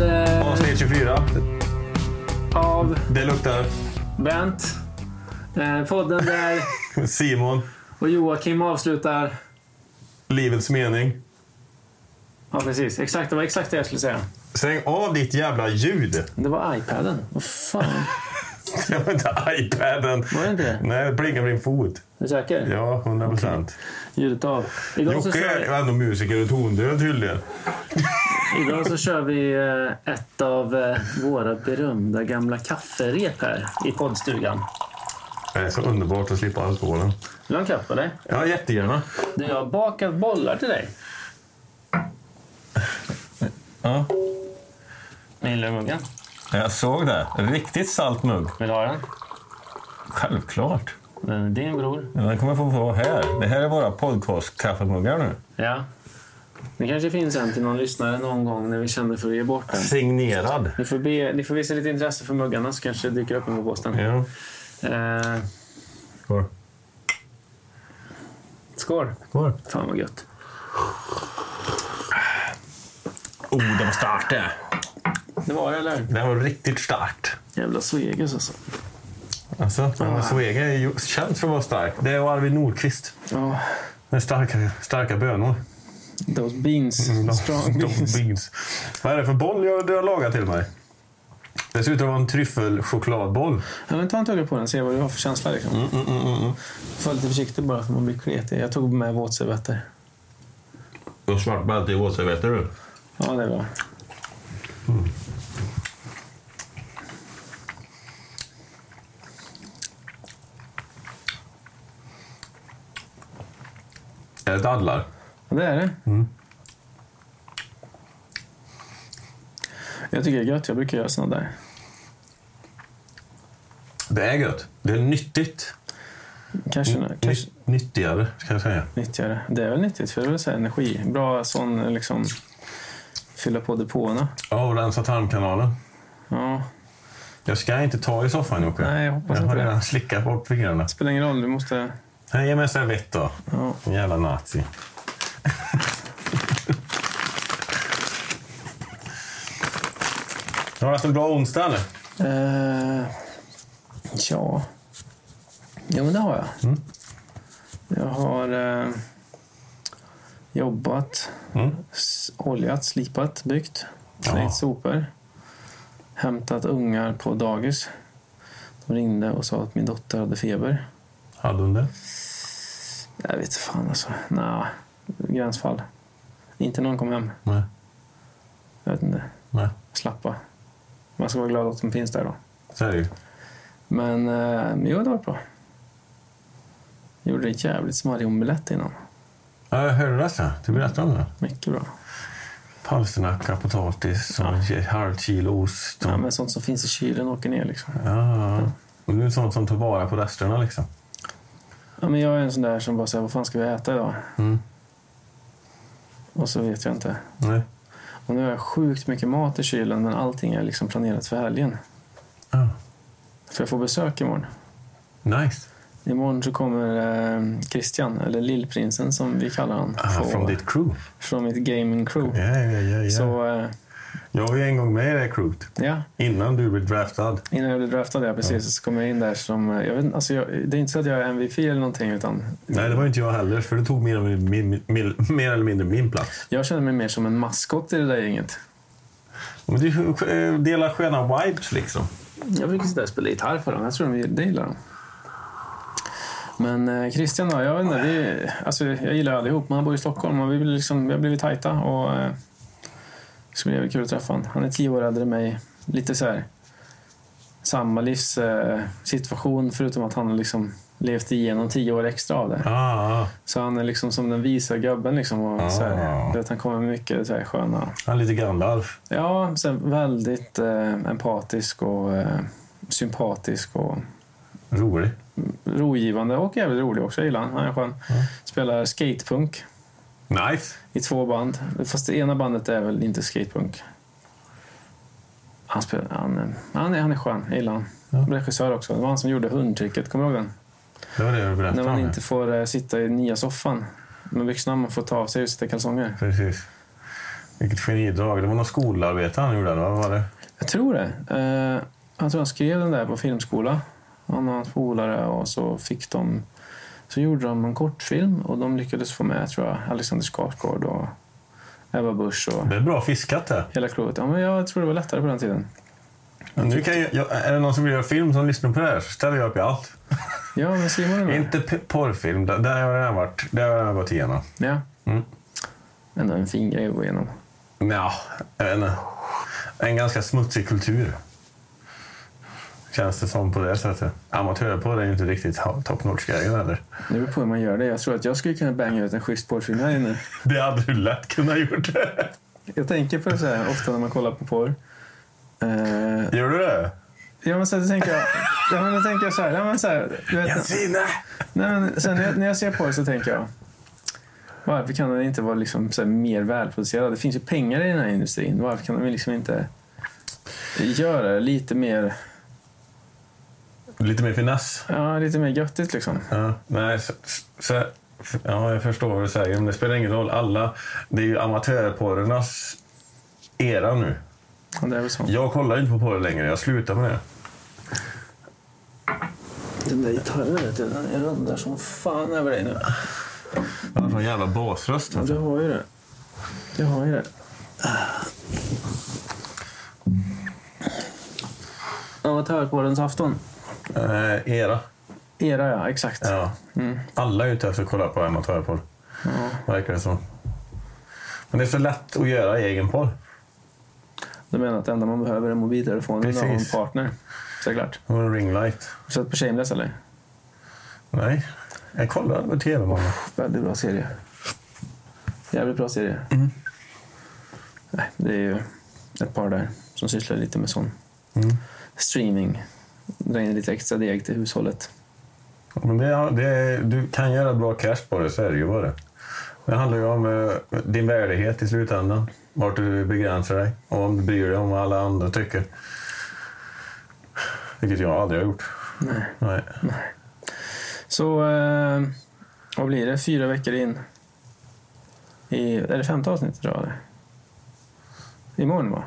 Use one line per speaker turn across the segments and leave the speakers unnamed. eh, av
Det luktar
Bent. Eh, podden där
Simon,
och Joakim avslutar...
livets mening.
Ja, precis. Exakt, det var exakt det jag skulle säga.
Stäng av ditt jävla ljud.
Det var iPaden. Vad fan?
Det var inte iPaden.
Var det inte det?
Nej, det plingar på din fot.
Är du säker?
Ja, 100 procent.
Ljudet av. Idag så,
Jocke
kör,
är ändå musiker och tondöv tydligen.
idag så kör vi eh, ett av eh, våra berömda gamla kafferep här i poddstugan.
Det är så underbart att slippa alkoholen.
Vill du ha en kaffe eller?
Ja, jättegärna.
Du, jag har bakat bollar till dig.
Ja,
Gillar du muggen?
jag såg det. Riktigt salt mugg.
Vill du ha den?
Självklart.
Den är din bror.
Den kommer få vara här. Det här är våra podcast-kaffemuggar nu.
Ja. Det kanske finns en till någon lyssnare någon gång när vi känner för att ge bort den.
Signerad.
Ni får, be, ni får visa lite intresse för muggarna så kanske det dyker upp en på posten.
Ja,
Eh,
skål.
skål!
Skål.
Fan vad gött.
Oh, det var starkt det.
Det var det eller?
Det var riktigt starkt.
Jävla Svegas alltså.
Alltså, ja. Svega är ju känt för att vara stark. Det är Arvid Nordqvist.
Ja,
Med starka, starka bönor.
those beans. Mm, Strong beans.
De beans. Vad är det för boll jag, du har lagat till mig? Det ser ut att vara en tryffelchokladboll.
Ja, men ta en tugga på den och se vad du har för känsla. Liksom. Mm, Var lite försiktig bara för man blir kletig. Jag tog med våtservetter.
Du har svart bälte i Åsö, vet du.
Ja, det är bra.
Är det dadlar?
Ja, Det är det. Jag tycker det är gött. Jag brukar göra såna där.
Det är gött. Det är nyttigt.
Kanske, kanske
Ny, nyttigare, ska jag säga.
nyttja det. Det är väl nyttigt för det är väl så här energi. Bra sån liksom fylla på depåerna.
Ja, och rensa tarmkanalen.
Ja,
Jag ska inte ta i soffan, Jocke.
nej jag hoppas
jag
inte
har
det.
redan slickat bort fingrarna.
Spelar ingen roll, du måste...
Nej, Ge mig en servett då.
Ja.
En jävla nazi. Har du haft en bra onsdag eller?
Eh, ja. ja, men det har jag. Jag har eh, jobbat,
Mm.
s- oljat, slipat, byggt,
Ja.
slängt sopor, hämtat ungar på dagis. De ringde och sa att min dotter hade feber.
Hade hon det?
Jag vet inte fan alltså. Nja, gränsfall. Inte någon kom hem.
Nej.
Jag vet inte.
Nej.
Slappa. Man ska vara glad att de finns där då.
Så är det ju.
Men eh, jo, det var bra. Gjorde en jävligt smarrig omelett innan.
Ja, jag hörde det. så. Du berättade om det.
Mycket bra.
Palsternacka, potatis, och ett halvt kilo ost. Och...
Ja, men sånt som finns i kylen åker ner liksom.
Ja. Och du är sånt som tar vara på resterna liksom.
Ja, men jag är en sån där som bara säger vad fan ska vi äta idag?
Mm.
Och så vet jag inte.
Nej.
Och nu har jag sjukt mycket mat i kylen men allting är liksom planerat för helgen.
Ja.
För jag får besök imorgon.
Nice.
Imorgon så kommer eh, Christian, eller Lillprinsen som vi kallar han.
Ah,
på-
från ditt crew.
från mitt gaming crew.
Ja, ja, ja. ja.
Så eh,
Jag var ju en gång med i det crewet.
ja,
Innan du blev draftad.
Innan jag blev draftad, ja, precis. Så kom jag in där som... Jag vet, inte, alltså jag, det är inte så att jag är MVP eller någonting, utan
Nej, det var ju inte jag heller. För det tog mer eller mindre min, min, mer eller mindre min plats.
jag känner mig mer som en maskot i det där gänget.
Men du eh, delar sköna vibes liksom.
Jag brukar sitta och spela gitarr för dem. Jag tror de det gillar dem. Men eh, Christian då, jag vet inte. Vi, alltså, jag gillar allihop, men han bor i Stockholm och vi, blir liksom, vi har blivit tajta. Och, eh, det skulle bli kul att träffa honom. Han är tio år äldre än mig. Lite så här samma livssituation, eh, situation, förutom att han har liksom levt igenom tio år extra av det.
Ah, ah.
Så han är liksom som den visa gubben. Liksom och
Ah.
så här, du vet, han kommer med mycket så här sköna...
Han är lite Gandalf.
Ja, så här, väldigt eh, empatisk och eh, sympatisk och
Rolig.
rogivande och jävligt rolig också. Jag gillar han. Han är skön. Spelar skatepunk
Nice.
i två band. Fast det ena bandet är väl inte skatepunk. Han, spelar, han, är- han, är, han är skön. Jag gillar han. Regissör också. Det var han som gjorde hundtricket. Kommer du ihåg den?
Det var det du berättade
När
om,
man
ja.
inte får eh, sitta i nya soffan med byxorna man får ta av sig och sitta i kalsonger.
Precis. Vilket genidrag. Det var någon skolarbete han gjorde, eller vad var det?
Jag tror det. Eh, jag tror han skrev den där på filmskola. Han och hans polare och så fick de... Så gjorde de en kortfilm och de lyckades få med, tror jag, Alexander Skarsgård och Ebba Busch och
Det är bra fiskat det.
hela klotet. Ja, men jag tror det var lättare på den tiden.
Men Nu kan jag, jag, är det någon som vill göra film som lyssnar på det här så ställer jag upp i allt.
Ja, men Simon är med.
Inte p- porrfilm, där, där har jag redan varit. Där har jag redan gått igenom.
Ja.
Mm.
Ändå en fin grej att gå igenom.
Ja, jag vet inte. En ganska smutsig kultur. Känns det som på det sättet. Amatörporr är ju inte riktigt ha- top notch-grejen heller.
Det beror på hur man gör det. Jag tror att jag skulle kunna banga ut en schysst porrfilm här inne.
Det hade du lätt kunnat gjort.
Jag tänker på det så här ofta när man kollar på porr. Eh,
Gör du det?
ja, men sen så tänker jag... Ja, men då tänker jag så här... Ja, men så här du vet,
Jensine!
Nej, men sen när jag, när jag ser på det så tänker jag varför kan den inte vara liksom så här mer välproducerad? Det finns ju pengar i den här industrin. Varför kan de liksom inte göra det lite mer,
Lite mer finess.
ja, lite mer göttigt liksom?
Ja, nej, så, så, ja, jag förstår vad du säger, men det spelar ingen roll. Alla, det är ju amatörporrarnas era nu.
Ja, det är väl så.
Jag kollar inte på porr längre, jag slutar med det.
Den där gitarren vet du, den rundar som fan över dig nu.
Jag har sån jävla basröst. alltså.
Du har ju det. Du har ju det. Amatörporrens afton.
Eh, era.
Era ja, exakt.
Ja.
Mm.
Alla är ute efter att kolla på amatörporr,
Ja.
verkar det som. Men det är så lätt att göra egen porr.
Du menar att det enda man behöver är mobiltelefonen och en
Precis.
partner? Såklart.
Och en ringlight.
Har du sett på Shameless eller?
Nej, jag kollar på tv mamma.
Väldigt bra serie. Mm. Jävligt bra serie. Nej, det är ju ett par där som sysslar lite med sån
Mm.
streaming. Drar in lite extra deg till hushållet.
Ja, Men det, det, du kan göra bra cash på det, så är det ju bara det. Det handlar ju om eh, din värdighet i slutändan. Vart du begränsar dig och om du bryr dig om vad alla andra tycker. Vilket jag aldrig har gjort.
Nej.
Nej.
Så eh, vad blir det? Fyra veckor in. I, är det femte avsnittet då eller? Imorgon va?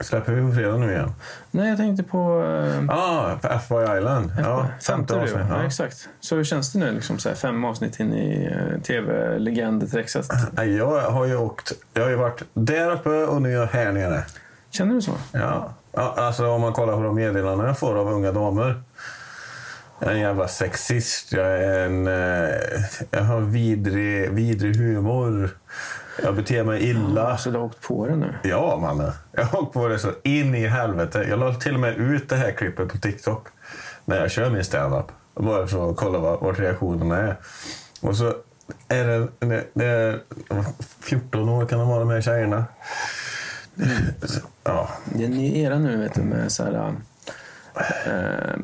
Släpper vi på fredag nu igen?
Nej, jag tänkte på... Eh,
Ah, på FY Island. Ja, femte
blir det,
avsnitt.
Ja.
Ja.
exakt. Så hur känns det nu? Liksom, så här, fem avsnitt in i eh, tv-legendtrexet.
Nej, Jag har ju åkt. Jag har ju varit där uppe och nu är jag här nere.
Känner du så?
Ja. Ja, alltså om man kollar på de meddelanden jag får av unga damer. Jag är en jävla sexist. Jag, är en, eh, jag har vidrig, vidrig humor. Jag beter mig illa.
Alltså, du har åkt på det nu.
Ja, mannen. Jag har åkt på det så in i helvete. Jag la till och med ut det här klippet på TikTok när jag kör min standup. Bara för att kolla vad, vad reaktionerna är. Och så är det, det, det är 14 år kan de vara, de här tjejerna. Ja,
Det är en ny era nu vet du med så här... Eh,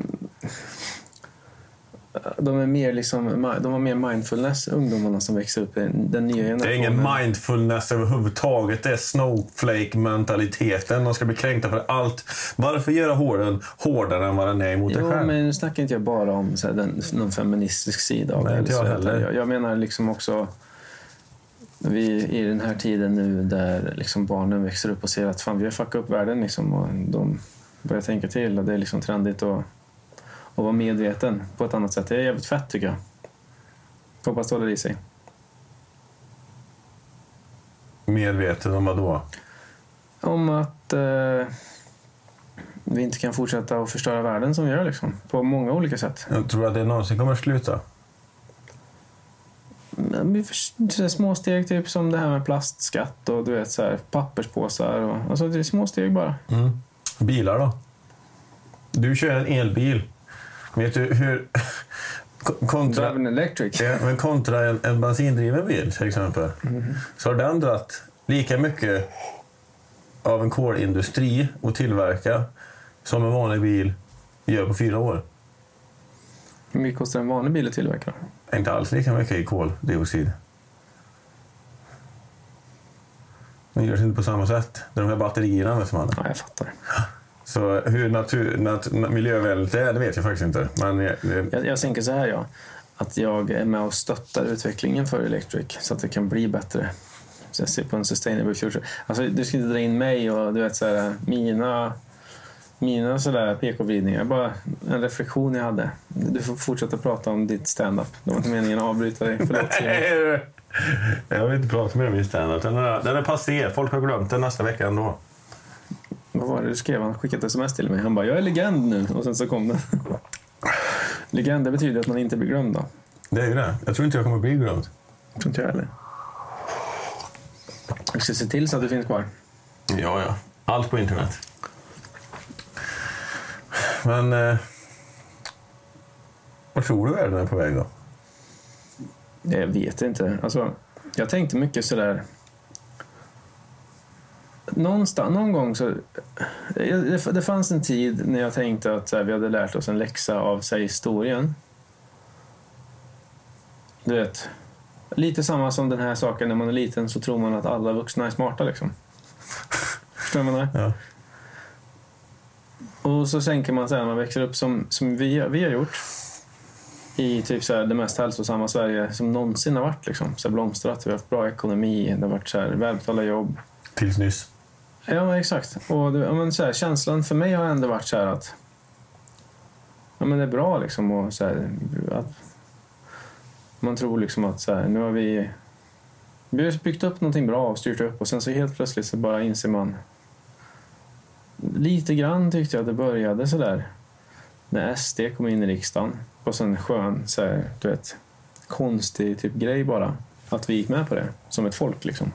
de är mer liksom, de har mer mindfulness, ungdomarna som växer upp. i Den nya generationen.
Det är ingen mindfulness överhuvudtaget. Det är snowflake-mentaliteten. De ska bli kränkta för allt. Varför göra hården hårdare än vad den är mot dig
Jo,
själv?
men nu snackar inte jag bara om så här, den, någon feministisk sida av
Nej,
det.
inte
eller
jag
så, utan
heller.
Jag, jag menar liksom också vi i den här tiden nu där liksom barnen växer upp och ser att fan, vi har fuckat upp världen liksom, och de börjar tänka till och det är liksom trendigt att, att vara medveten på ett annat sätt. Det är jävligt fett tycker jag. Hoppas du håller i sig.
Medveten om vad då?
Om att eh, vi inte kan fortsätta att förstöra världen som vi gör liksom, på många olika sätt.
Jag tror att det någonsin kommer att sluta.
Men Mm, vi förs- så här små steg, typ som det här med plastskatt och du vet, så här, papperspåsar. Och, alltså, det är små steg bara.
Mm. Bilar då? Du kör en elbil. Vet du hur... Ko- Kontra,
Driven Electric.
Ja, Eh, men kontra en, en bensindriven bil till exempel. Så har den dragit lika mycket av en kolindustri och tillverka som en vanlig bil gör på fyra år.
Hur mycket kostar en vanlig bil att tillverka? då?
Inte alls lika mycket i koldioxid. Den görs inte på samma sätt. Det är de här batterierna med som man.
Ja, jag fattar.
Så hur natur, nat, miljövänligt det är, det vet jag faktiskt inte. Men eh, det-
Jag, jag tänker så här, ja. Att jag är med och stöttar utvecklingen för Electric så att det kan bli bättre. Så jag ser på en sustainable future. Alltså, du ska inte dra in mig och du vet, så här, mina mina sådär PK-vridningar. Bara en reflektion jag hade. Du får fortsätta prata om ditt stand-up. Det var inte meningen att avbryta dig. Förlåt. Jag-
Jag vill inte prata mer om min standup. Den är, den är passé. Folk har glömt den nästa vecka ändå.
Vad var det du skrev? Han skickade ett sms till mig. Han bara, jag är legend nu. Och sen så kom den. legend, det betyder att man inte blir glömd då.
Det är ju det. Jag tror inte jag kommer bli glömd.
Tror inte jag heller. Vi ska se till så att du finns kvar.
Ja, ja. Allt på internet. Men... Eh, vad tror du världen är på väg då?
Jag vet inte. Alltså, jag tänkte mycket sådär... Någonstans, någon gång så... Det det fanns en tid när jag tänkte att så här, vi hade lärt oss en läxa av sig historien. Du vet, lite samma som den här saken när man är liten så tror man att alla vuxna är smarta liksom. Förstår du vad jag menar?
Ja.
Och så tänker man så här när man växer upp som, som vi, vi har gjort i typ så här, det mest hälsosamma Sverige som någonsin har varit. Liksom. Så här blomstrat, vi har haft bra ekonomi, det har varit så här, välbetalda jobb.
Tills nyss.
Ja, men exakt. Och det, ja, men så här, känslan för mig har ändå varit så här att ja, men det är bra liksom. Och så här, att man tror liksom att så här, nu har vi, vi har byggt upp någonting bra och styrt upp och sen så helt plötsligt så bara inser man. Lite grann tyckte jag att det började så där när SD kom in i riksdagen på en skön, så här, du vet, konstig typ grej bara. Att vi gick med på det som ett folk liksom.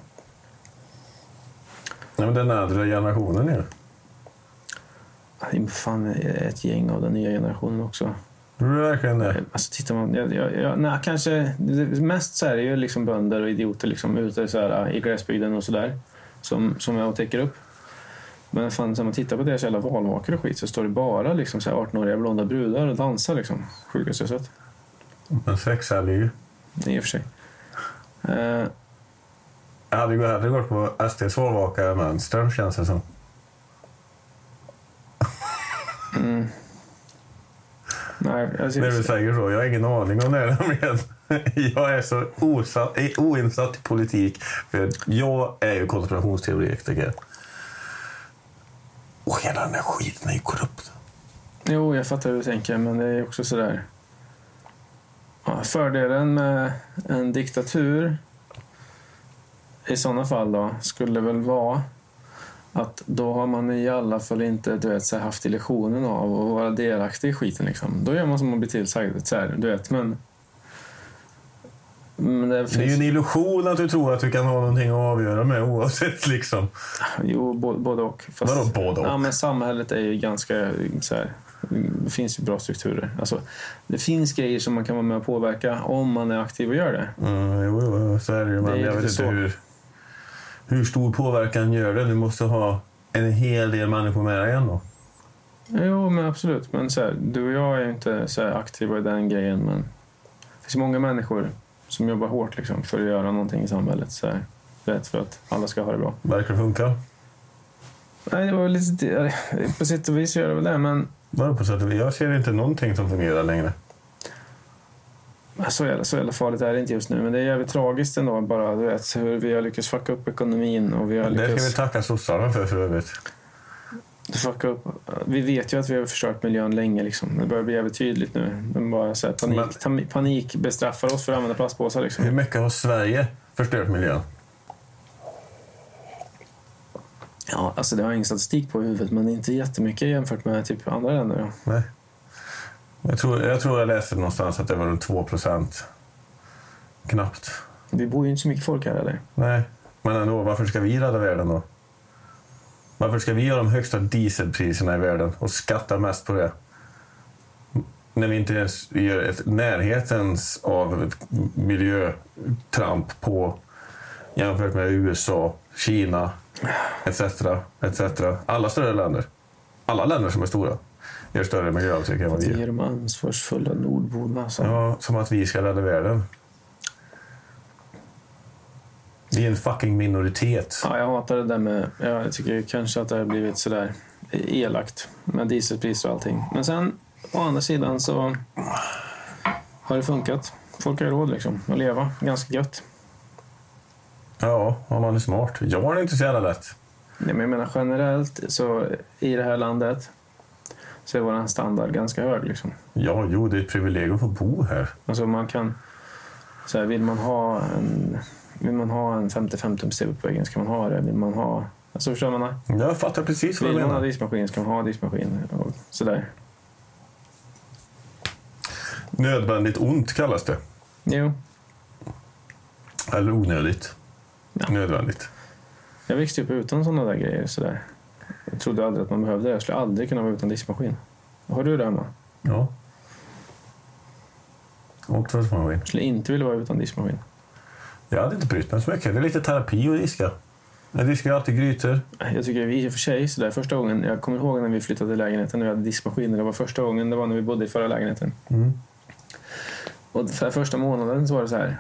Nej, men den äldre generationen ju.
Det är fan ett gäng av den nya generationen också.
Tror du verkligen det?
Alltså tittar man, jag, jag, jag, nej, kanske, det- mest så här är ju liksom bönder och idioter liksom, ute så här, i gräsbygden och sådär. Som, som jag täcker upp. Men fan, när man tittar på deras jävla valvakor och skit så står det bara liksom, så här 18-åriga blonda brudar och dansar. Liksom. Sjukaste jag sett.
Men sex hade ju...
I och för sig. Eh,
Jag hade ju hellre gått på SDs valvaka än vänstern känns det som.
nej, alltså,
När du säger så. Jag har ingen aning om det här nämligen. Jag är så osatt, oinsatt i politik. För jag är ju konspirationsteoretiker. Och hela den här skiten är ju korrupt.
Jo, jag fattar hur du tänker, men det är också sådär... Ja, fördelen med en diktatur i sådana fall då, skulle väl vara att då har man i alla fall inte du vet, så här, haft illusionen av att vara delaktig i skiten. Liksom. Då gör man som man blir tillsagd. Så här, du vet, men... men det finns...
Det är ju en illusion att du tror att du kan ha någonting att avgöra med oavsett liksom.
Jo, bo- både och. Fast,
Vadå både och?
Ja, men samhället är ju ganska så här, det finns ju bra strukturer. Alltså, det finns grejer som man kan vara med och påverka om man är aktiv och gör det.
Mm, jo, jo, så är det ju.
Det är
Men jag
lite
vet inte
så.
hur, hur stor påverkan gör det. Du måste ha en hel del människor med dig igen då. Mm.
Jo, men absolut. Men så här, du och jag är ju inte så här aktiva i den grejen, men det finns många människor som jobbar hårt liksom, för att göra någonting i samhället. Så här, rätt för att alla ska ha det bra.
Verkar det funka?
Nej, det var lite, på sätt och vis gör det väl det, men
Vadå på sätt och vis? Jag ser inte någonting som fungerar längre.
Så jävla, så jävla farligt är det inte just nu, men det är jävligt tragiskt ändå. Bara, du vet, hur vi har lyckats fucka upp ekonomin och vi har
Det ska vi
lyckats
tacka sossarna för för övrigt.
fucka upp. Vi vet ju att vi har förstört miljön länge. Liksom. Det börjar bli jävligt tydligt nu. Men bara så här, panik,
Men-
tam- panik bestraffar oss för att använda plastpåsar. Liksom.
Hur mycket har Sverige förstört miljön?
Ja, alltså, det har jag ingen statistik på i huvudet, men det är inte jättemycket jämfört med typ andra länder. Ja.
Nej. Jag tror, jag tror jag läste någonstans att det var runt 2 procent. Knappt.
Vi bor ju inte så mycket folk här eller?
Nej, men ändå. Varför ska vi rädda världen då? Varför ska vi ha de högsta dieselpriserna i världen och skatta mest på det? När vi inte ens gör ett närhetens av ett miljötramp på jämfört med USA, Kina etc. etc. Alla större länder. Alla länder som är stora gör större miljöavtryck än vad vi
Det
gör.
är de ansvarsfulla nordborna. Alltså.
Ja, som att vi ska rädda världen. Vi är en fucking minoritet.
Ja, jag hatar det där med... Jag tycker kanske att det har blivit sådär elakt med dieselpriser och allting. Men sen, å andra sidan så har det funkat. Folk har ju råd liksom att leva ganska gött.
Ja, om man är smart. Jag har det inte så jävla lätt.
Nej, men jag menar generellt så i det här landet så är vår standard ganska hög. Liksom.
Ja, jo, det är ett privilegium att få bo här.
Alltså man kan, så här, vill man ha en, vill man ha en 50-50 tums TV på väggen ska man ha det. Vill man ha, alltså förstår man? det?
Jag fattar precis vad
Vill
du
man ha
menar.
diskmaskin ska man ha diskmaskin. Och sådär.
Nödvändigt ont kallas det.
Jo,
Eller onödigt.
Ja.
Nödvändigt.
jag växte upp utan sådana där grejer. Sådär. Jag trodde aldrig att man behövde det. Jag skulle aldrig kunna vara utan diskmaskin. Har du det hemma?
Ja. Och tvättmaskin.
Jag skulle inte vilja vara utan diskmaskin.
Jag hade inte brytt mig så mycket. Det är lite terapi att diska. Jag diskar ju alltid grytor.
Jag tycker vi i och för sig, så där, första gången, jag kommer ihåg när vi flyttade till lägenheten och vi hade diskmaskiner. Det var första gången, det var när vi bodde i förra lägenheten.
Mm.
Och för första månaden så var det så här,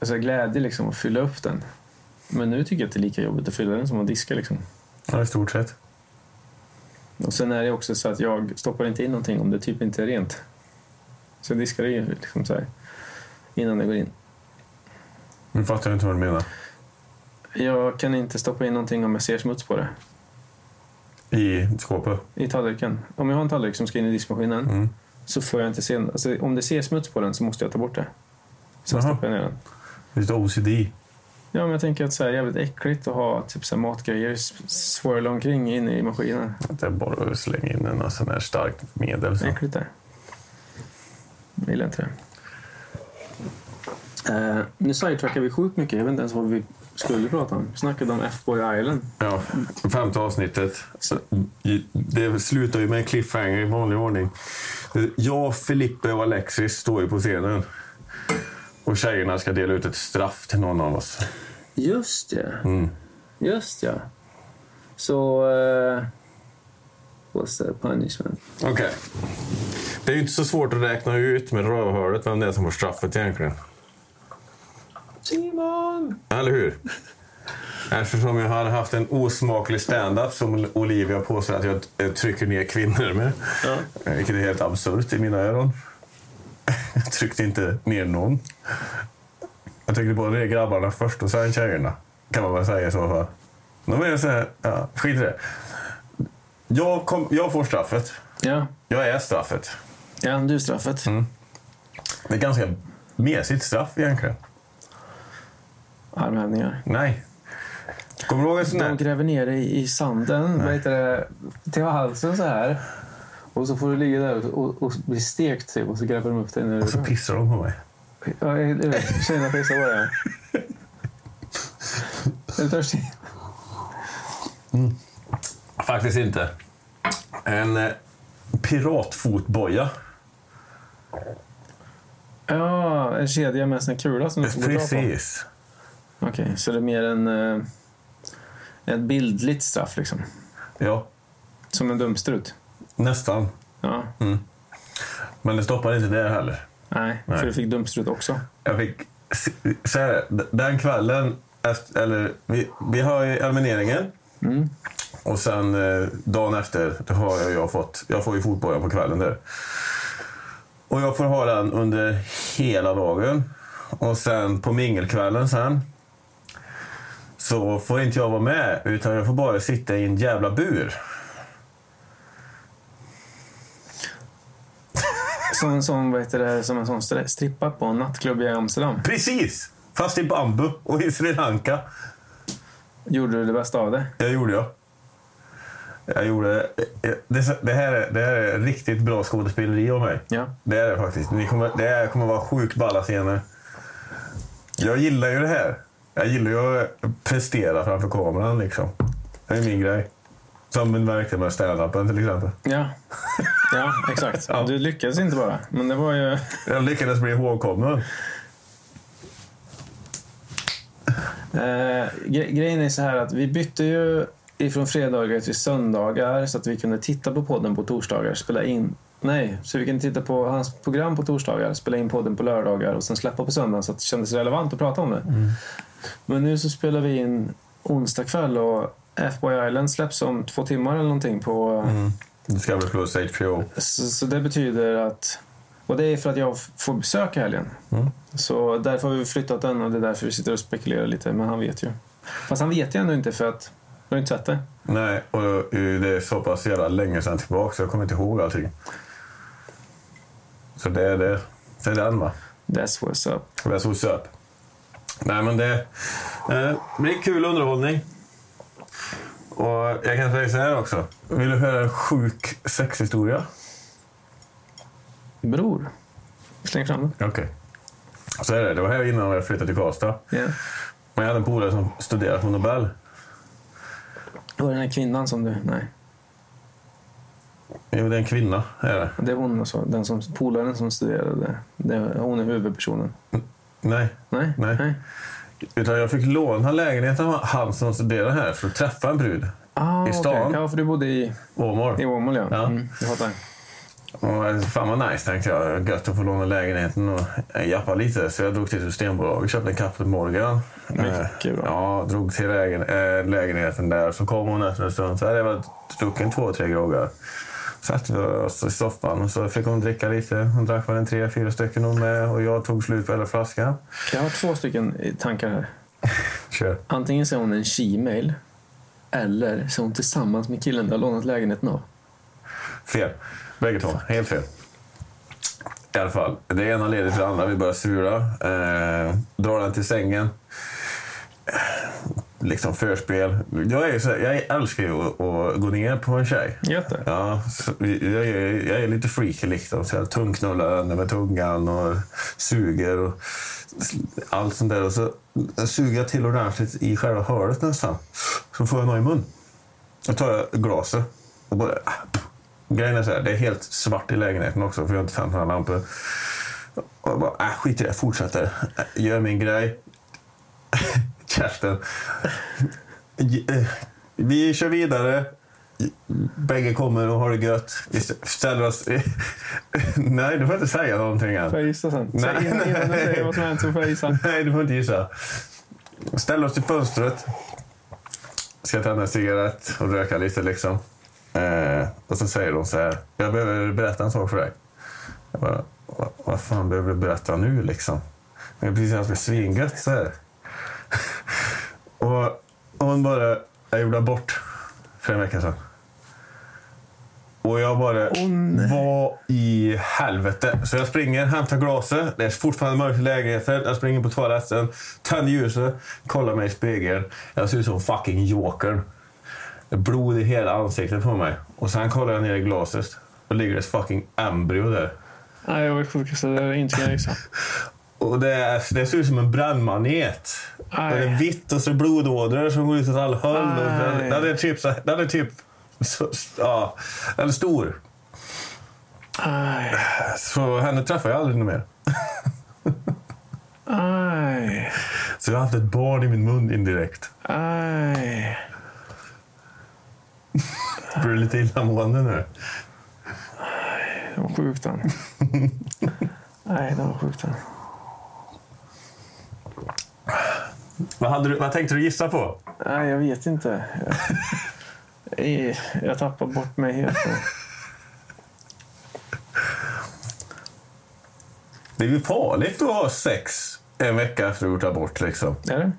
alltså glädje liksom att fylla upp den. Men nu tycker jag att det är lika jobbigt att fylla den som att diska liksom.
Ja, i stort sett.
Och sen är det också så att jag stoppar inte in någonting om det typ inte är rent. Så jag diskar det ju liksom så här innan det går in.
Nu fattar jag inte vad du menar.
Jag kan inte stoppa in någonting om jag ser smuts på det
I skåpet.
i tallriken. Om jag har en tallrik som ska in i diskmaskinen
Mm.
så får jag inte se, alltså, om det ser smuts på den så måste jag ta bort det. Sen
Jaha.
stoppar jag ner den.
Lite OCD.
Ja, men jag tänker att så här, jävligt äckligt att ha typ så här, matgrejer s- swirla omkring inne i maskinen.
Att jag bara slänger in en sån här starkt medel. Så.
Äckligt där. Jag gillar inte det. Eh, nu sidetrackar vi sjukt mycket. Jag vet inte ens vad vi skulle prata om. Vi snackade om F-Boy Island.
Ja, femte avsnittet. Så, i- Det slutar ju med en cliffhanger i vanlig ordning. Jag, Filippe och Alexis står ju på scenen. Och tjejerna ska dela ut ett straff till någon av oss.
Just det.
Mm.
Just ja. Så... eh, what's the punishment?
Okej. Det är ju inte så svårt att räkna ut med rövhålet vem det är som får straffet egentligen.
Simon!
Eller hur? Eftersom jag hade haft en osmaklig stand-up som Olivia påstår att jag eh, trycker ner kvinnor med.
Ja.
Eh, Vilket är helt absurt i mina öron. Jag tryckte inte ner någon. Jag tryckte på det grabbarna först och sen tjejerna. Kan man väl säga i så fall. De är så här, ja, skit i det. Jag, kom, jag får straffet.
Ja.
Jag är straffet.
Ja, du är straffet.
Det är ganska mesigt straff egentligen.
Armhävningar.
Nej. Kommer du ihåg en sån
De
där?
gräver ner dig i sanden, vad heter det, till halsen så här. Och så får du ligga där och, och, och bli stekt typ, och så gräver de upp dig. När
Och så
du...
pissar de på mig.
Ja, jag- jag vet. Tjejerna pissar på dig. Är du törstig?
Faktiskt inte. En eh, piratfotboja.
Ja, en kedja med en sån här kula som du
Mm.
får dra på.
Precis.
Okej, så det är mer en, eh, ett bildligt straff liksom.
Ja,
Som en dumstrut.
nästan.
Ja,
Mm. Men det stoppade inte där heller.
nej,
Nej.
för du fick dumstrut också.
Jag fick... se- Så här, d- den kvällen, efter, eller vi, vi har ju elimineringen.
Mm.
Och sen eh, dagen efter då har jag, jag fått... Jag får ju fotboja på kvällen där. Och jag får ha den under hela dagen. Och sen på mingelkvällen sen så får inte jag vara med utan jag får bara sitta i en jävla bur.
Som en sån, vad heter det, som en sån stre- strippa på en nattklubb i Amsterdam.
Precis! Fast i bambu och i Sri Lanka.
Gjorde du det bästa av det?
Det gjorde jag. Jag gjorde... eh, Det, det, här, är, det här är riktigt bra skådespeleri av mig.
Ja.
Det är det faktiskt. Ni kommer, det här kommer vara sjukt balla scener. Jag gillar ju det här. Jag gillar ju att eh, prestera framför kameran liksom. Det är min grej. Som man märkte med standupen till exempel.
Ja, ja exakt.
Ja.
Du lyckades inte bara. Men det var ju...
Jag lyckades bli ihågkommen.
Eh, gre- grejen är så här att vi bytte ju ifrån fredagar till söndagar så att vi kunde titta på podden på torsdagar, spela in. Nej, så vi kunde titta på hans program på torsdagar, spela in podden på lördagar och sen släppa på söndagen så att det kändes relevant att prata om det. Men nu så spelar vi in onsdag kväll och F-Boy Island släpps om två timmar eller någonting på...
Du Mm. ska väl plus HBO.
Så, så det betyder att... Och det är för att jag f- får besök i helgen.
Mm.
Så därför har vi flyttat den och det är därför vi sitter och spekulerar lite. Men han vet ju. Fast han vet ju ändå inte för att har inte sett det?
Nej, och eh, det är så pass jävla länge sedan tillbaka så jag kommer inte ihåg allting. Så det är det. Det är den va?
That's what's up.
Och det är sosse upp. Nej men det... Eh, men det är kul underhållning. Och jag kan säga så här också. Vill du höra en sjuk sexhistoria?
Bror. Släng fram den.
Okej. Så är det. Det var här innan jag flyttade till Karlstad.
Yeah.
Men jag hade en polare som studerade på Nobel.
Det var den här kvinnan som du... Nej.
Jo, det är en kvinna. Är det.
Det är hon alltså. Den som, polaren som studerade. Det, är- hon är huvudpersonen.
Nej.
Nej?
Nej. Utan jag fick låna lägenheten av han som studerade här för att träffa en brud.
Ah,
I stan.
okej. Ja, för du bodde i,
Åmål.
i Åmål ja.
Ja.
Mm, jag fattar.
Och eh, fan vad nice tänkte jag. Gött att få låna lägenheten och eh, jappa lite. Så jag drog till Systembolaget köpte en Captain Morgan.
Mycket
Eh,
bra.
Ja, drog till lägen, eh, lägenheten där. Så kom hon efter en stund. Så hade jag väl druckit två, tre groggar. Satt vi oss i soffan och så fick hon dricka lite. Hon drack väl en tre, fyra stycken hon med. Och jag tog slut på hela flaskan.
Jag har två stycken i tankar här.
Kör.
Antingen så är hon en she-mail. Eller så är hon tillsammans med killen du har lånat lägenheten av.
Fel. Bägge två. Helt fel. I alla fall, det ena leder till det andra. Vi börjar sura. Eh, drar den till sängen. Eh, Liksom förspel. Jag, är ju så, här- jag älskar ju att, att gå ner på en tjej.
Gött det.
Ja, så jag, är, jag är lite freaky liksom. Så jag tungknullar henne med tungan och suger och allt sånt där. Och så suger jag till ordentligt i själva hålet nästan. Så får jag något i mun. Då tar jag glaset och bara... Grejen är så här, det är helt svart i lägenheten också för jag har inte tänt några lampor. Och jag bara, äh, skit i det, fortsätter. Äh, Gör min grej. Käften. Ge- eh, Vi kör vidare. Bägge kommer och har det gött. Vi ställer oss... Nej, du får inte säga någonting än.
Får jag gissa sen? Nej.
Nej.
Innan, innan du säger vad som hänt så får jag gissa.
Nej, du får inte gissa. Ställ oss till fönstret. Ska tända en cigarett och röka lite liksom. Eh, och så säger de så här. Jag behöver berätta en sak för dig. Jag bara, "Va- vad fan behöver du berätta nu liksom? Men precis jag ska svingött så här. och, och hon bara, jag gjorde abort för en vecka sedan. Och jag bara,
Åh, nej.
vad i helvete? Så jag springer, hämtar glaset. Det är fortfarande mörkt i lägenheten. Jag springer på toaletten, tänder ljuset, kollar mig i spegeln. Jag ser ut som fucking jokern. Det är Blod i hela ansiktet på mig. Och sen kollar jag ner i glaset. Då ligger det ett fucking embryo där.
Nej, jag var sjukast. Det är inte kan jag gissa.
Och det, är, det ser ut som en brännmanet. Och
Aj.
det är vitt och så är det blodådror som går ut åt all höll. Och Den,
Aj.
den är typ... så- Den är typ så, ja, den är stor.
Aj.
Så henne träffar jag aldrig mer.
Aj.
Så jag har haft ett barn i min mun indirekt.
Aj.
Blir du lite illamående nu?
Det var sjukt den. Nej, det var sjukt den.
Vad, hade du, vad tänkte du gissa på?
Nej, jag vet inte. Jag, Eh, jag tappar bort mig helt nu.
Det är ju farligt att ha sex en vecka efter du gjort abort. Liksom.
Är det?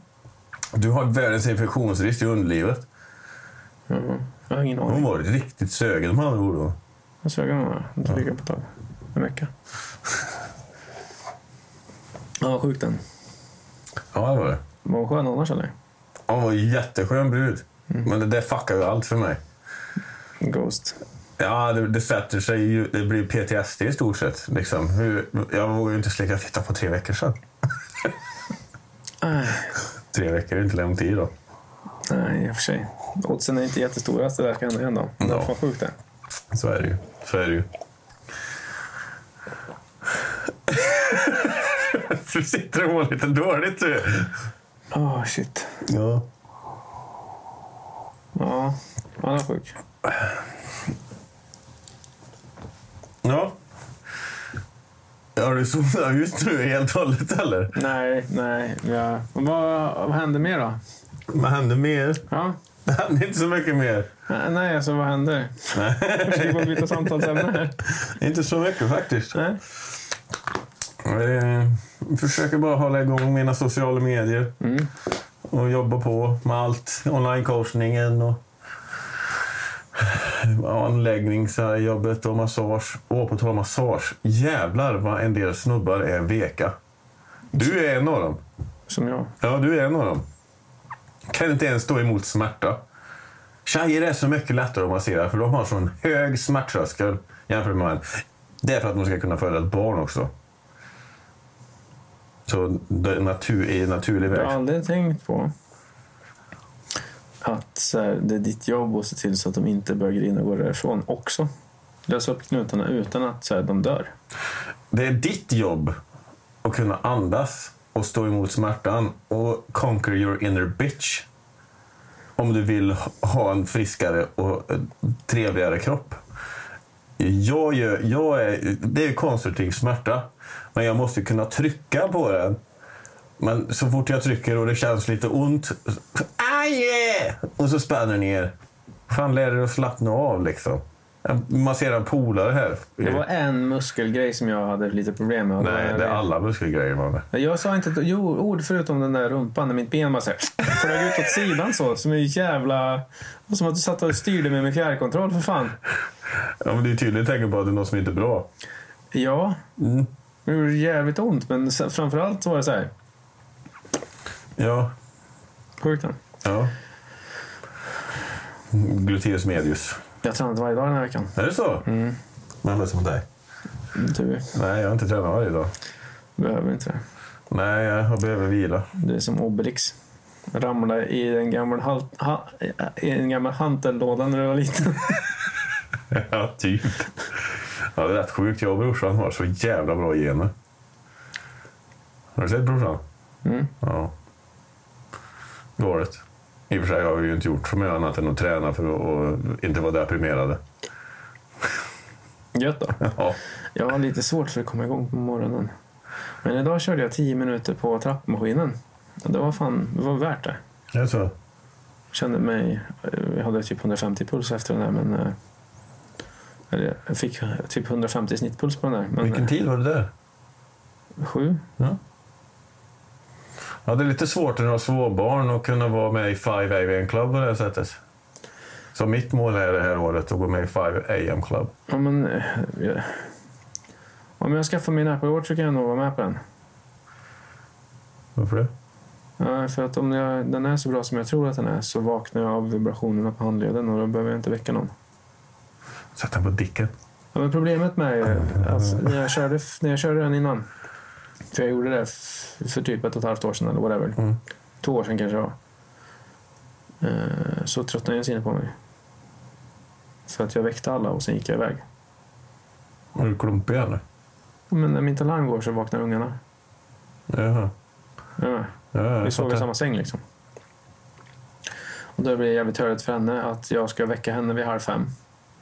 Du har världens infektionsrisk i underlivet.
Mhm. Jag har ingen
Hon
aning.
var riktigt sögen med andra ord. då.
Jag sög honom. va? Inte ligga på ett tag. En vecka. Ja, vad sjukt den.
Ja, det var det.
Var hon skön annars eller?
Hon var en jätteskön brud. Men det där fuckar ju allt för mig.
Ghost.
Ja, det, det sätter sig ju. Det blir PTSD i stort sett. Liksom. Hur, jag vågar ju inte slicka fitta på tre veckor sedan.
Aj.
Tre veckor är inte lång tid då.
Nej, i och för sig. Oddsen är inte jättestora att det där ska hända igen då. Det
Ja.
var fan sjukt det.
Så är det ju. Så är det ju. du sitter och mår lite dåligt du.
Åh, shit.
Ja.
Ja, han är sjuk.
Ja. Har du zonat ut nu helt och hållet eller?
Nej, nej. Ja. Och Vad, vad hände mer då?
Vad hände mer?
Ja.
Det hände inte så mycket mer.
Nej, Nej, alltså vad händer? Jag försöker bara byta samtalsämne här.
Inte så mycket faktiskt.
Nej.
Eh, försöker bara hålla igång mina sociala medier.
Mm.
och jobbar på med allt. Online-coachningen och anläggningsjobbet och massage. Och på tal om massage, jävlar vad en del snubbar är veka. Du är en av dem.
Som jag.
Ja, du är en av dem. Kan inte ens stå emot smärta. Tjejer är så mycket lättare att massera för de har sån hög smärttröskel jämfört med män. Det är för att de ska kunna föda ett barn också. Så det är natur, i naturlig
Jag
väg.
har aldrig tänkt på att så här, det är ditt jobb att se till så att de inte börjar grina och går därifrån också. Lösa upp knutarna utan att så här, de dör.
Det är ditt jobb att kunna andas och stå emot smärtan och conquer your inner bitch. Om du vill ha en friskare och eh, trevligare kropp. Jag gör, jag är, det är ju konstruktiv smärta, men jag måste ju kunna trycka på den. Men så fort jag trycker och det känns lite ont, aj! eh! Och så spänner den ner. Fan, lär dig att slappna av liksom. Jag masserar polare här.
Det var en muskelgrej som jag hade lite problem med. och
Nej,
var-
det är alla muskelgrejer man har.
Jag sa inte ett jo- ord förutom den där rumpan när mitt ben bara så här flög ut åt sidan så. Som en jävla... Som att du satt och styrde mig med fjärrkontroll för fan.
Ja, men det är tydligt tecken på att det är något som inte är bra. Mm.
Ja, det gjorde jävligt ont men sen- framförallt så var det så här.
Ja.
Sjukt den.
ja. Gluteus medius.
Jag har tränat varje dag den här veckan.
Är det så? Mm. Men det är som dig.
Du
Nej, jag har inte tränat varje dag.
behöver inte det.
Nej, jag behöver vila.
Du är som Obelix. Ramlade i en gammal, hal- ha- i en gammal hantellåda när du var liten.
ja, typ. Ja, det är rätt sjukt. Jag och brorsan har så jävla bra gener. Har du sett brorsan?
Mm.
Ja. Galet. I och för sig har vi ju inte gjort så mycket annat än att träna för att att inte vara deprimerade.
Gött då.
Ja.
Jag har lite svårt för att komma igång på morgonen. Men idag körde jag 10 minuter på trappmaskinen. Och Det var fan det var värt det.
Det är så.
Kände mig, jag hade typ 150 puls efter den där men... eh, Eller jag fick typ 150 snittpuls på den där. Men
Vilken tid var det där?
eh, Sju?
Ja, det är lite svårt när du har småbarn att kunna vara med i 5 AVN Club på det här sättet. Så mitt mål är det här året att gå med i 5 AM Club.
Ja men... eh, jag- Om jag skaffar min Apple Watch så kan jag nog vara med på den.
Varför det?
Ja, För att om jag, den är så bra som jag tror att den är så vaknar jag av vibrationerna på handleden och då behöver jag inte väcka någon.
Sätt den på dicken.
Ja, men problemet med är alltså, när, jag körde, när jag körde den innan. För jag gjorde det f- för typ ett och ett halvt år sedan eller whatever.
Mm.
Två år sedan kanske det var. Eh, Så tröttnade Jensine på mig. För att jag väckte alla och sen gick jag iväg.
Är du klumpig eller?
Men när mitt alarm går så vaknar ungarna.
Jaha.
Är du med?
Ja, jag
Vi sov i
fattar.
samma säng liksom. Och då blir det jävligt törligt för henne att jag ska väcka henne vid halv fem.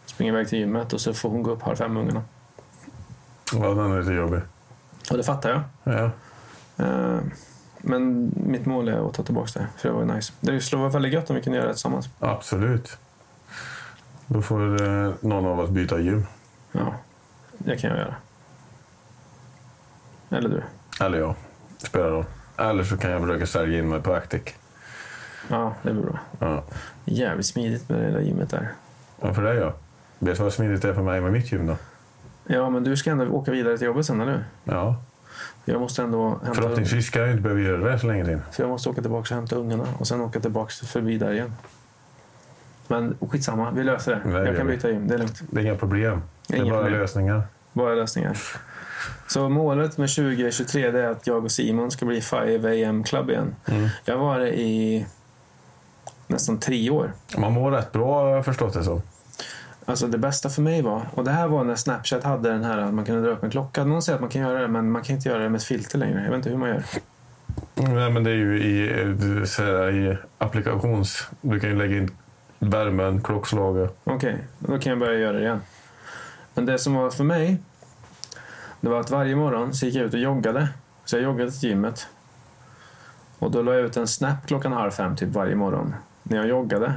Springa iväg till gymmet och så får hon gå upp halv fem med ungarna.
Ja, den är lite jobbig.
Och det fattar jag.
Ja.
Eh, Men mitt mål är att ta tillbaka det, för det var ju nice. Det skulle vara väldigt gött om vi kunde göra det tillsammans.
Absolut. Då får eh, någon av oss byta gym.
Ja, det kan jag göra. Eller du.
Eller jag. Spelar roll. Eller så kan jag försöka sälja in mig på Actic.
Ja, det blir bra.
Ja.
Jävligt smidigt med det där gymmet där.
Varför det ja? Vet du vad smidigt det är för mig med mitt gym då?
Ja, men du ska ändå åka vidare till jobbet sen, eller hur?
Ja.
Jag måste ändå hämta ungarna.
Förhoppningsvis ska jag inte behöva göra det så länge till.
För jag måste åka tillbaka och hämta ungarna och sen åka tillbaka förbi där igen. Men skitsamma, vi löser det.
Nej, det
jag kan
gör vi.
byta gym, det är lugnt.
Det är inga problem. Det är
Inga
bara
problem.
lösningar.
Bara lösningar. Så målet med 2023 det är att jag och Simon ska bli 5 AM Club igen.
Mm.
Jag var det i nästan tre år.
Man mår rätt bra har jag förstått det som.
Alltså det bästa för mig var, och det här var när Snapchat hade den här att man kunde dra upp en klocka. Någon säger att man kan göra det, men man kan inte göra det med ett filter längre. Jag vet inte hur man gör.
Nej, men det är ju i, eh, du säger, i applikations... Du kan ju lägga in värmen, klockslaget.
Okej, då kan jag börja göra det igen. Men det som var för mig, det var att varje morgon så gick jag ut och joggade. Så jag joggade till gymmet. Och då la jag ut en snap klockan halv fem typ varje morgon när jag joggade.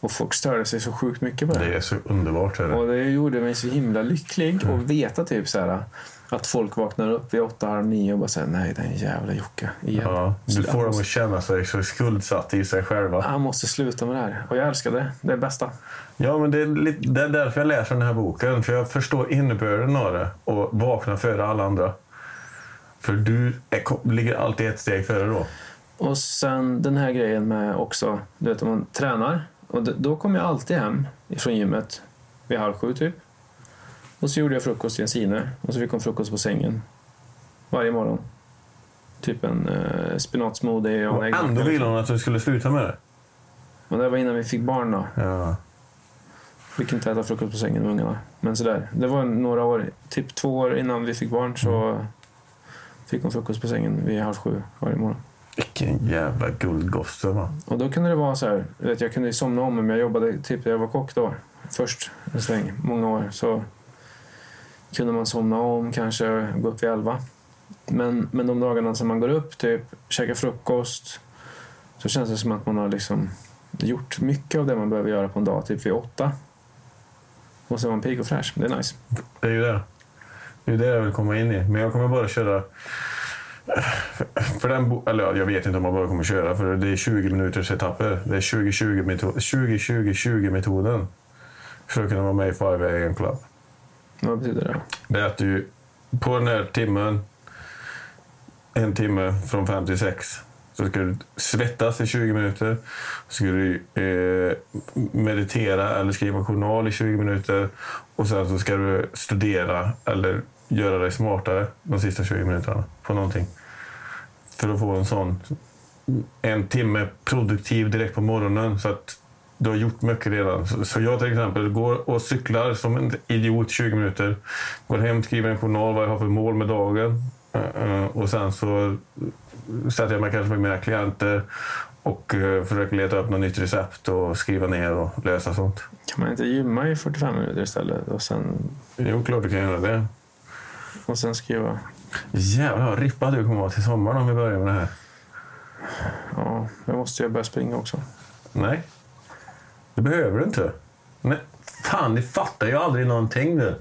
Och folk störde sig så sjukt mycket på det.
Det är så underbart. Är det.
Och det gjorde mig så himla lycklig att veta typ så här, att folk vaknar upp vid åtta, halv nio och bara säger nej, den jävla Jocke igen.
Ja, du får dem att känna sig så skuldsatta i sig själva.
Han måste sluta med det här. Och jag älskar det. Det är det bästa.
Ja, men det är, lite, det är därför jag läser den här boken. För jag förstår innebörden av det och vaknar före alla andra. För du är, kom- ligger alltid ett steg före då.
Och sen den här grejen med också, du vet om man tränar. Och d- då kom jag alltid hem från gymmet vid halv sju typ. Och så gjorde jag frukost i en sine och så fick hon frukost på sängen. Varje morgon. Typ en eh, spinatsmoothie och en
Och
äggmacka,
ändå vill
liksom.
hon att du skulle sluta med det.
Men det var innan vi fick barn då.
Ja.
Vi kunde inte äta frukost på sängen med ungarna. Men sådär. Det var några år, typ två år innan vi fick barn så fick hon frukost på sängen vid halv sju varje morgon.
Vilken jävla guldgosse va.
Och då kunde det vara så här, du vet, jag kunde ju somna om men jag jobbade, typ jag var kock då först en sväng, många år. Så kunde man somna om kanske, gå upp vid elva. Men, men de dagarna som man går upp, typ käkar frukost, så känns det som att man har liksom gjort mycket av det man behöver göra på en dag, typ vid åtta. Och så är man pigg och fräsch, det är nice.
Det är ju det. Det är ju det jag vill komma in i. Men jag kommer bara köra... För den, bo- eller ja, jag vet inte om jag bara kommer köra, för det är 20 minuters etapper. Det är 20-20-20-metoden. För att kunna vara med i Five AM Club.
Vad betyder det?
Det är att du på den här timmen, en timme från fem till sex, så ska du svettas i 20 minuter. Så ska du eh, meditera eller skriva journal i 20 minuter. Och sen så ska du studera eller göra dig smartare de sista 20 minuterna på någonting. För att få en sån en timme produktiv direkt på morgonen. Så att du har gjort mycket redan. Så- Så jag till exempel går och cyklar som en idiot 20 minuter. Går hem, skriver en journal vad jag har för mål med dagen. Eh, eh, Och sen så sätter jag mig kanske med mina klienter och eh, försöker leta upp något nytt recept och skriva ner och lösa sånt.
Kan man inte gymma i 45 minuter istället och sen,
Jo, klart du kan göra det.
och sen skriva?
Jävlar vad rippad du kommer vara till sommaren om vi börjar med det här.
Ja, jag måste ju börja springa också.
Nej. Det behöver du inte. Nej. Fan, ni fattar ju aldrig någonting nu.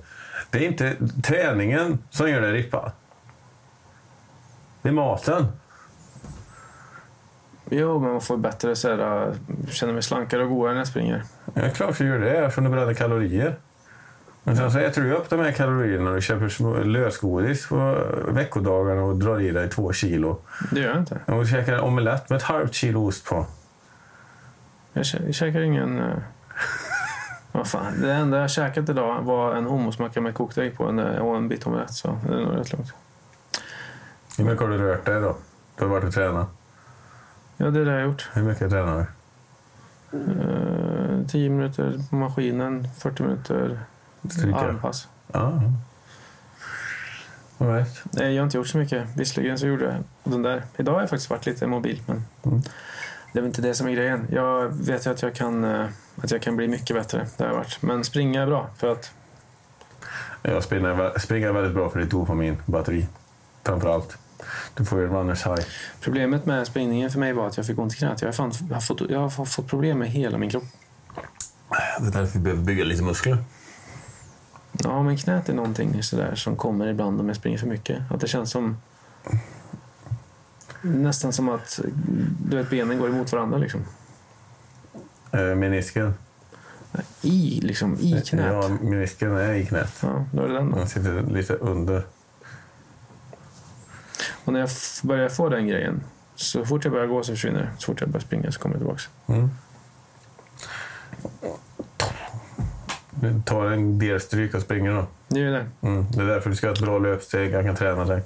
Det är inte träningen som gör dig rippad. Det är maten.
Jo, men man får bättre så här, äh, känner mig slankare och godare när jag springer.
Ja, det är klart du gör det eftersom du bränner kalorier. Men sen så äter du upp de här kalorierna och köper små- lösgodis på veckodagarna och drar i dig två kilo.
Det gör jag inte.
Och du käkar omelett med ett halvt kilo ost på.
Jag, kä- jag käkar ingen... äh, Vad fan, det enda jag käkat idag var en hummusmacka med kokt ägg på en, äh, och en bit omelett, så det är nog rätt lugnt.
Hur mycket har du rört dig då? Du har varit och tränat.
Ja, det är det jag har gjort.
Hur mycket tränar du?
Äh, 10 minuter på maskinen, 40 minuter
Stryka.
armpass.
Ja. All right.
Nej, jag har inte gjort så mycket. Visserligen så gjorde jag den där. Idag har jag faktiskt varit lite mobil, men
Mm.
det är väl inte det som är grejen. Jag vet ju att jag kan, eh, att jag kan bli mycket bättre. Det har jag varit. Men springa är bra, för att
Jag springer, springer väldigt bra för det tog på min batteri. Framför allt. Du får ju runners high.
problemet med springningen för mig var att jag fick ont i knät. Jag har, fan, jag har, fått, jag har fått problem med hela min kropp.
Det är därför vi behöver bygga lite muskler.
Ja, men knät är någonting sådär som kommer ibland om jag springer för mycket. Att det känns som... Nästan som att du vet, benen går emot varandra. Liksom.
Eh, menisken.
I, liksom, I
Ja,
knät.
menisken är i knät.
Ja, då är det den då.
Den sitter lite under.
Och när jag f- börjar få den grejen, så fort jag börjar gå så försvinner det. Så fort jag börjar springa så kommer det tillbaka.
Mm. Du tar en del stryk och springer då.
Det är ju det.
Mm. Det är därför du ska ha ett bra löpsteg. Jag kan träna dig.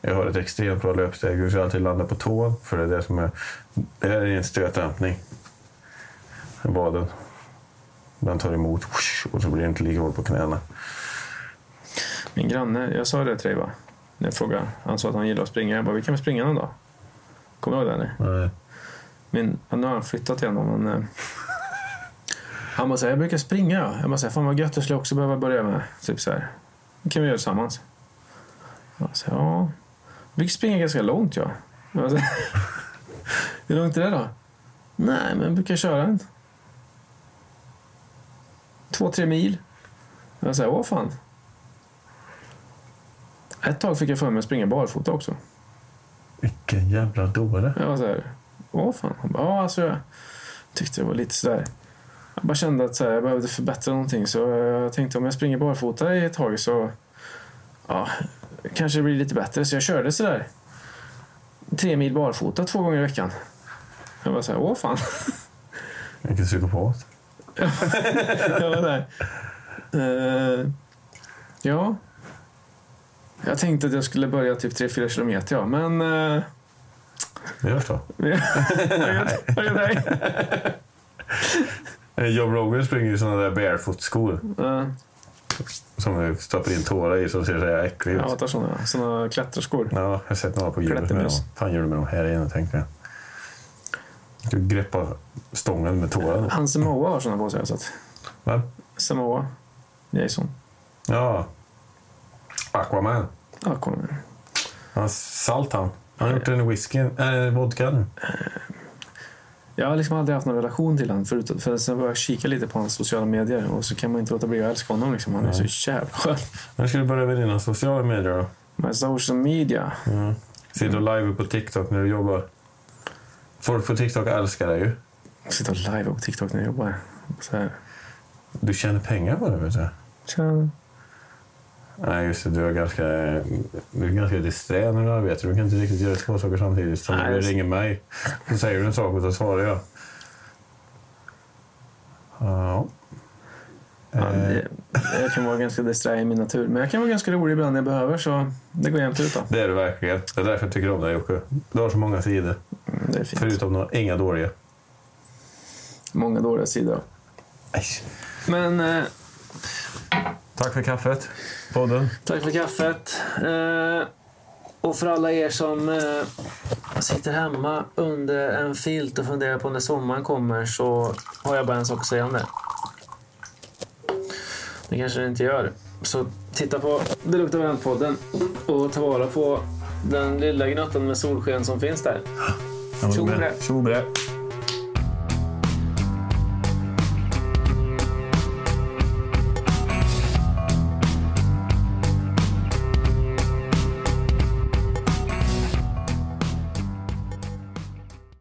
Jag har ett extremt bra löpsteg. Du ska alltid landa på tån. För det är det som är... Det här är en stötdämpning. Vaden. Den tar emot och så blir det inte lika hårt på knäna.
Min granne, jag sa det till dig va? När jag frågade. Han sa att han gillar att springa. Jag bara, vi kan väl springa någon dag? Kommer du ihåg det? Eller?
Nej.
Min, ja, nu har han flyttat igen. Men, eh, han bara, så här, jag brukar springa. ja." Jag bara, så här, fan vad gött, det skulle jag också behöva börja med. Typ så här. Det kan vi göra tillsammans. Jag bara, så här, ja. Vi fick springa ganska långt, ja. Jag bara, så här, Hur långt är det då? Nej, men jag brukar köra en. två, tre mil. Och jag säger, åh fan. Ett tag fick jag för mig att springa barfota också.
Vilken jävla dåre.
Jag var så här, åh fan. Han bara, ja, alltså jag tyckte det var lite sådär. Jag bara kände att så här, jag behövde förbättra någonting så jag tänkte om jag springer barfota i ett tag så ja, kanske det blir lite bättre. Så jag körde sådär tre mil barfota två gånger i veckan. Jag var så här, åh fan.
Vilken psykopat.
jag var där. Eh, ja. Jag tänkte att jag skulle börja typ 3-4 kilometer, ja. Men... eh,
Det görs då.
vad gör- vad gör dig?
Eh, Joe Rogan springer ju i såna där barefoot-skor
Eh,
som du stoppar in tårar i som ser så här äcklig ut.
Jag
Ja,
hatar såna, såna klätterskor.
jag har sett några på djuret med dem.
Klättermus.
fan gjorde du med dem här inne, tänker jag. Du greppar stången med tårarna.
Han Samoa har såna på sig. har jag sett.
Va?
Samoa. Jason.
Ja. Aquaman.
Ja, kommer.
Han salt han. Han har gjort en whisky, äh, vodka nu.
Jag har liksom aldrig haft någon relation till honom förut. För sen började jag kika lite på hans sociala medier och så kan man inte låta bli att älska honom. Liksom. Han är så jävla skön.
Nu ska du börja med dina sociala medier då.
Men social media.
Mm. Sitter och live på TikTok när du jobbar. Folk på TikTok älskar dig ju.
Jag sitter live på TikTok när jag jobbar. Så här.
Du tjänar pengar på det, vet du.
Tja.
Nej, just det. Du är ganska, du är ganska disträ när du arbetar. Du kan inte riktigt göra två saker samtidigt. Så när
Nej,
du
det-
ringer mig så säger du en sak och då svarar jag. Ja.
Ja,
Eh,
det- jag kan vara ganska disträ i min natur. Men jag kan vara ganska rolig ibland när jag behöver så det går jämnt ut. Då.
Det är du verkligen. Det är därför jag tycker om dig, Jocke. Du har så många sidor.
Mm, Det är fint.
Förutom några, inga dåliga.
Många dåliga sidor. Men eh,
Tack för kaffet. Podden.
Tack för kaffet. Eh, och för alla er som eh, sitter hemma under en filt och funderar på när sommaren kommer så har jag bara en sak att säga om det. Det kanske ni inte gör. Så titta på Det luktar vänt-podden och ta vara på den lilla gnuttan med solsken som finns där. Tjo och brä.
Tjo och brä.